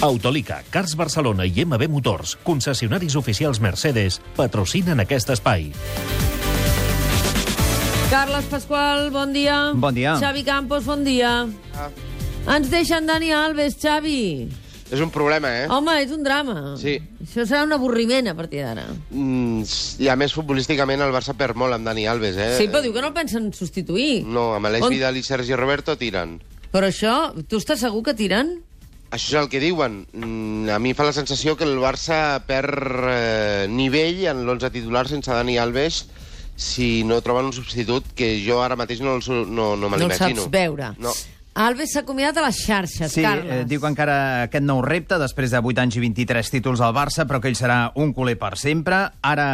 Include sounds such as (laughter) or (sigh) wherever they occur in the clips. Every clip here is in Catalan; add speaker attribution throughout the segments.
Speaker 1: Autolica, Cars Barcelona i MB Motors, concessionaris oficials Mercedes, patrocinen aquest espai.
Speaker 2: Carles Pasqual, bon dia.
Speaker 3: Bon dia.
Speaker 2: Xavi Campos, bon dia.
Speaker 4: Ah,
Speaker 2: Ens deixen Dani Alves, Xavi.
Speaker 4: és un problema, eh?
Speaker 2: Home, és un drama.
Speaker 4: Sí.
Speaker 2: Això serà un avorriment a partir d'ara.
Speaker 4: Mm, I a més, futbolísticament, el Barça perd molt amb Dani Alves, eh?
Speaker 2: Sí, però diu que no el pensen substituir.
Speaker 4: No, amb Aleix
Speaker 2: On-
Speaker 4: On... Vidal i Sergi Roberto tiren.
Speaker 2: Però això, tu estàs segur que tiren?
Speaker 4: Això és el que diuen. Mm, a mi em fa la sensació que el Barça perd eh, nivell en l'11 titular sense Dani Alves si no troben un substitut que jo ara mateix no, el, su- no, no me
Speaker 2: no el
Speaker 4: l'imagino.
Speaker 2: saps veure.
Speaker 4: No.
Speaker 2: Alves s'ha acomiadat a les xarxes,
Speaker 3: Sí,
Speaker 2: Carles.
Speaker 3: eh, diu que encara aquest nou repte, després de 8 anys i 23 títols al Barça, però que ell serà un culer per sempre. Ara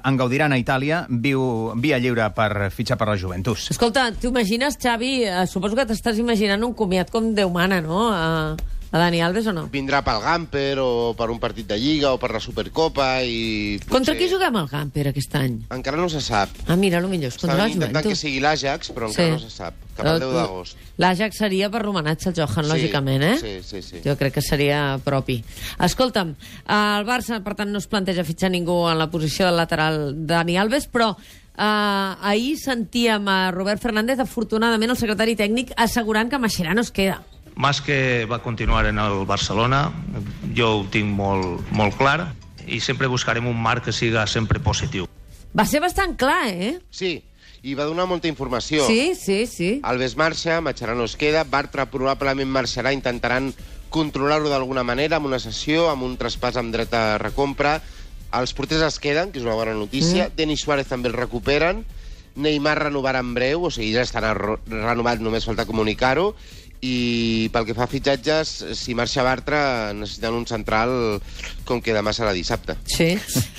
Speaker 3: eh, en gaudiran a Itàlia, viu via lliure per fitxar per la Juventus.
Speaker 2: Escolta, t'imagines, Xavi, eh, suposo que t'estàs imaginant un comiat com Déu mana, no?, a, a Dani Alves o no?
Speaker 4: Vindrà pel Gamper o per un partit de Lliga o per la Supercopa i... Potser...
Speaker 2: Contra qui juguem al Gamper aquest any?
Speaker 4: Encara no se sap.
Speaker 2: Ah, mira, lo millor és contra la
Speaker 4: Estaven intentant que
Speaker 2: Juventus.
Speaker 4: sigui l'Àjax, però encara no se sap. Cap al 10 d'agost.
Speaker 2: L'Àjax seria per l'homenatge al Johan,
Speaker 4: Sí,
Speaker 2: lògicament, eh?
Speaker 4: sí, sí, sí.
Speaker 2: Jo crec que seria propi. Escolta'm, eh, el Barça, per tant, no es planteja fitxar ningú en la posició del lateral Dani Alves, però eh, ahir sentíem a Robert Fernández, afortunadament el secretari tècnic, assegurant que Mascherano es queda.
Speaker 5: Mas que va continuar en el Barcelona, jo ho tinc molt, molt clar, i sempre buscarem un marc que siga sempre positiu.
Speaker 2: Va ser bastant clar, eh?
Speaker 4: Sí, i va donar molta informació.
Speaker 2: Sí, sí, sí.
Speaker 4: Alves marxa, Macharano es queda, Bartra probablement marxarà, intentaran controlar-ho d'alguna manera amb una sessió, amb un traspàs amb dret a recompra. Els porters es queden, que és una bona notícia. Mm. Denis Suárez també el recuperen. Neymar renovarà en breu, o sigui, ja estarà ro- renovat, només falta comunicar-ho. I pel que fa a fitxatges, si marxa Bartra, necessiten un central com que demà serà dissabte.
Speaker 2: Sí.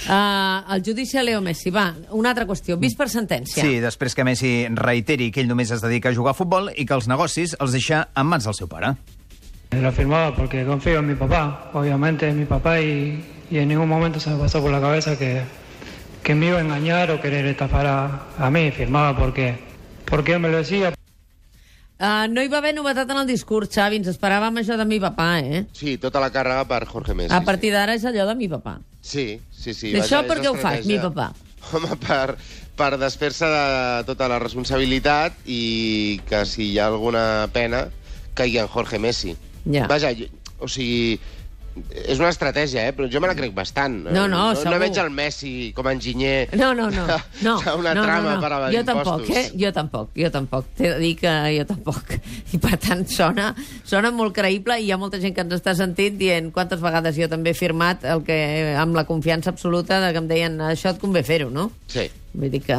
Speaker 4: Ah.
Speaker 2: Uh, el judici a Leo Messi. Va, una altra qüestió. Vist per sentència.
Speaker 3: Sí, després que Messi reiteri que ell només es dedica a jugar a futbol i que els negocis els deixa en mans del seu pare.
Speaker 6: Lo firmaba porque confío en mi papá, obviamente en mi papá y, y en ningún momento se me pasó por la cabeza que, que me iba a engañar o querer estafar a, a mí. Firmaba porque, porque él me lo decía,
Speaker 2: Uh, no hi va haver novetat en el discurs, Xavi. Ens esperàvem això de mi papà, eh?
Speaker 4: Sí, tota la càrrega per Jorge Messi.
Speaker 2: A partir d'ara és allò de mi papà.
Speaker 4: Sí, sí, sí.
Speaker 2: I això
Speaker 4: vaja, és
Speaker 2: per què ho fa,
Speaker 4: estratègia.
Speaker 2: mi papà?
Speaker 4: Home, per, per desfer-se de tota la responsabilitat i que si hi ha alguna pena caigui en Jorge Messi.
Speaker 2: Ja.
Speaker 4: Vaja, jo, o sigui, és una estratègia, eh? però jo me la crec bastant.
Speaker 2: No, no, segur.
Speaker 4: No veig el Messi com a enginyer
Speaker 2: No, no,
Speaker 4: (laughs)
Speaker 2: no. no.
Speaker 4: una
Speaker 2: no, no,
Speaker 4: trama
Speaker 2: no.
Speaker 4: per evadir
Speaker 2: Jo tampoc,
Speaker 4: impostos.
Speaker 2: eh? Jo tampoc, jo tampoc. T'he de dir que jo tampoc. (laughs) I per tant, sona, sona molt creïble i hi ha molta gent que ens està sentint dient quantes vegades jo també he firmat el que, eh, amb la confiança absoluta de que em deien això et convé fer-ho, no?
Speaker 4: Sí.
Speaker 2: Vull dir que...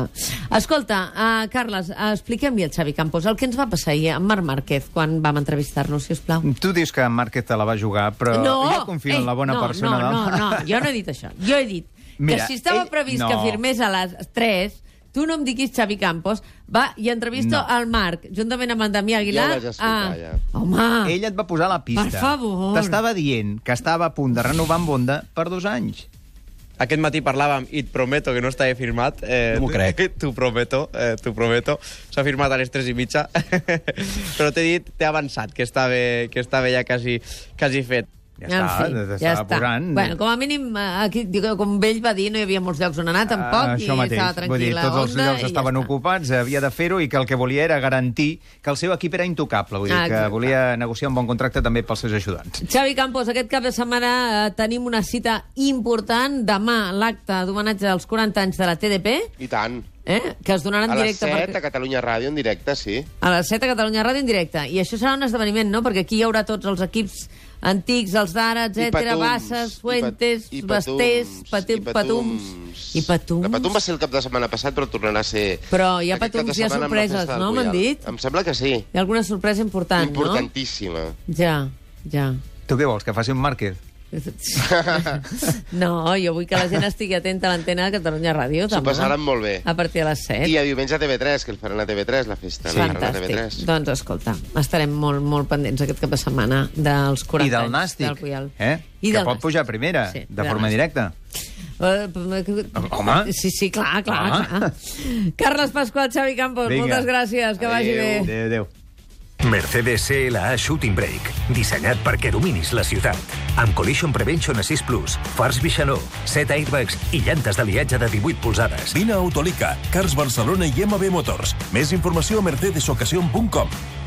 Speaker 2: Escolta, uh, Carles, uh, expliquem-li al Xavi Campos el que ens va passar ahir amb Marc Márquez quan vam entrevistar-nos, si us plau.
Speaker 3: Tu dius que Márquez te la va jugar, però jo confio en
Speaker 2: ei,
Speaker 3: la bona
Speaker 2: no,
Speaker 3: persona.
Speaker 2: No,
Speaker 3: del-
Speaker 2: no, no, jo no he dit això. Jo he dit
Speaker 3: Mira,
Speaker 2: que si estava
Speaker 3: ell-
Speaker 2: previst
Speaker 3: no.
Speaker 2: que firmés a les 3, tu no em diguis Xavi Campos, va i entrevisto
Speaker 3: No.
Speaker 2: al Marc, juntament amb en Damià Aguilar. Ah,
Speaker 4: Ja ho vaig explicar, ja.
Speaker 2: Home,
Speaker 3: Ell et va posar la pista.
Speaker 2: Per favor.
Speaker 3: T'estava dient que estava a punt de renovar amb Bonda per dos anys.
Speaker 7: Aquest matí parlàvem i et prometo que no està firmat. Eh,
Speaker 8: No m'ho crec.
Speaker 7: (laughs) T'ho prometo, eh, t'ho prometo. S'ha firmat a les 3 i mitja, (laughs) però t'he dit, t'he avançat, que estava, que estava ja quasi, quasi fet.
Speaker 3: Ja està, t'estava posant.
Speaker 2: Bueno, com a mínim, eh, aquí, dic, com ell va dir, no hi havia molts llocs on anar, tampoc,
Speaker 3: Ah,
Speaker 2: i
Speaker 3: això mateix.
Speaker 2: estava
Speaker 3: Vull dir,
Speaker 2: tranquil·la.
Speaker 3: tots els
Speaker 2: Onda,
Speaker 3: llocs
Speaker 2: i
Speaker 3: estaven
Speaker 2: ja està.
Speaker 3: ocupats, havia de fer-ho i que el que volia era garantir que el seu equip era intocable. Vull dir,
Speaker 2: Ah,
Speaker 3: que
Speaker 2: exacte.
Speaker 3: volia negociar un bon contracte també pels seus ajudants.
Speaker 2: Xavi Campos, aquest cap de setmana eh, tenim una cita important. Demà, l'acte d'homenatge als 40 anys de la TDP,
Speaker 4: I tant.
Speaker 2: eh, que es donaran
Speaker 4: A les
Speaker 2: directe...
Speaker 4: 7 a Catalunya Ràdio, en directe, sí.
Speaker 2: A les 7 a Catalunya Ràdio en directe. I això serà un esdeveniment, no? Perquè aquí hi haurà tots els equips antics, els d'ara, etcètera,
Speaker 4: petums,
Speaker 2: Bassas,
Speaker 4: i
Speaker 2: Fuentes,
Speaker 4: pet- i petums,
Speaker 2: Bastés,
Speaker 4: i
Speaker 2: Pati- Patums... I Patums.
Speaker 4: La Patum va ser el cap de setmana passat, però tornarà a ser...
Speaker 2: Però hi ha
Speaker 4: aquest cap de
Speaker 2: Patums, hi ha
Speaker 4: setmana amb la
Speaker 2: sorpreses,
Speaker 4: festa del
Speaker 2: no? M'han
Speaker 4: Pujalt.
Speaker 2: dit.
Speaker 4: Em sembla que sí.
Speaker 2: Hi ha alguna sorpresa important,
Speaker 4: Importantíssima.
Speaker 2: no? Ja, ja. (laughs)
Speaker 3: Tu què vols, que faci un màrquet?
Speaker 2: No, jo vull que la gent estigui atenta a l'antena de Catalunya Ràdio.
Speaker 4: S'ho
Speaker 2: demà,
Speaker 4: passaran molt bé.
Speaker 2: A partir de les 7.
Speaker 4: I a diumenge a TV3, que el faran a TV3, la festa. la faran a
Speaker 2: Fantàstic.
Speaker 4: TV3.
Speaker 2: Doncs escolta, estarem molt, molt pendents aquest cap de setmana dels 40
Speaker 3: I del
Speaker 2: anys
Speaker 3: Nàstic,
Speaker 2: del Puyol.
Speaker 3: eh?
Speaker 2: I
Speaker 3: que
Speaker 2: del
Speaker 3: pot
Speaker 2: Nàstic.
Speaker 3: pujar a primera,
Speaker 2: Sí,
Speaker 3: de
Speaker 2: del
Speaker 3: forma
Speaker 2: Nàstic.
Speaker 3: directe.
Speaker 2: Eh,
Speaker 3: Home.
Speaker 2: Sí, sí, clar, clar,
Speaker 3: Home.
Speaker 2: clar. Carles Pasqual, Xavi Campos,
Speaker 3: Vinga.
Speaker 2: moltes gràcies, que vagi bé.
Speaker 3: Adéu, adéu.
Speaker 8: Mercedes CLA Shooting Brake, dissenyat perquè dominis la ciutat. Amb Collision Prevention Assist Plus, fars bixanó, set airbags i llantes d'aliatge de 18 polzades.
Speaker 9: Vine a Autolica, Cars Barcelona i MB Motors. Més informació a mercedesocasion.com.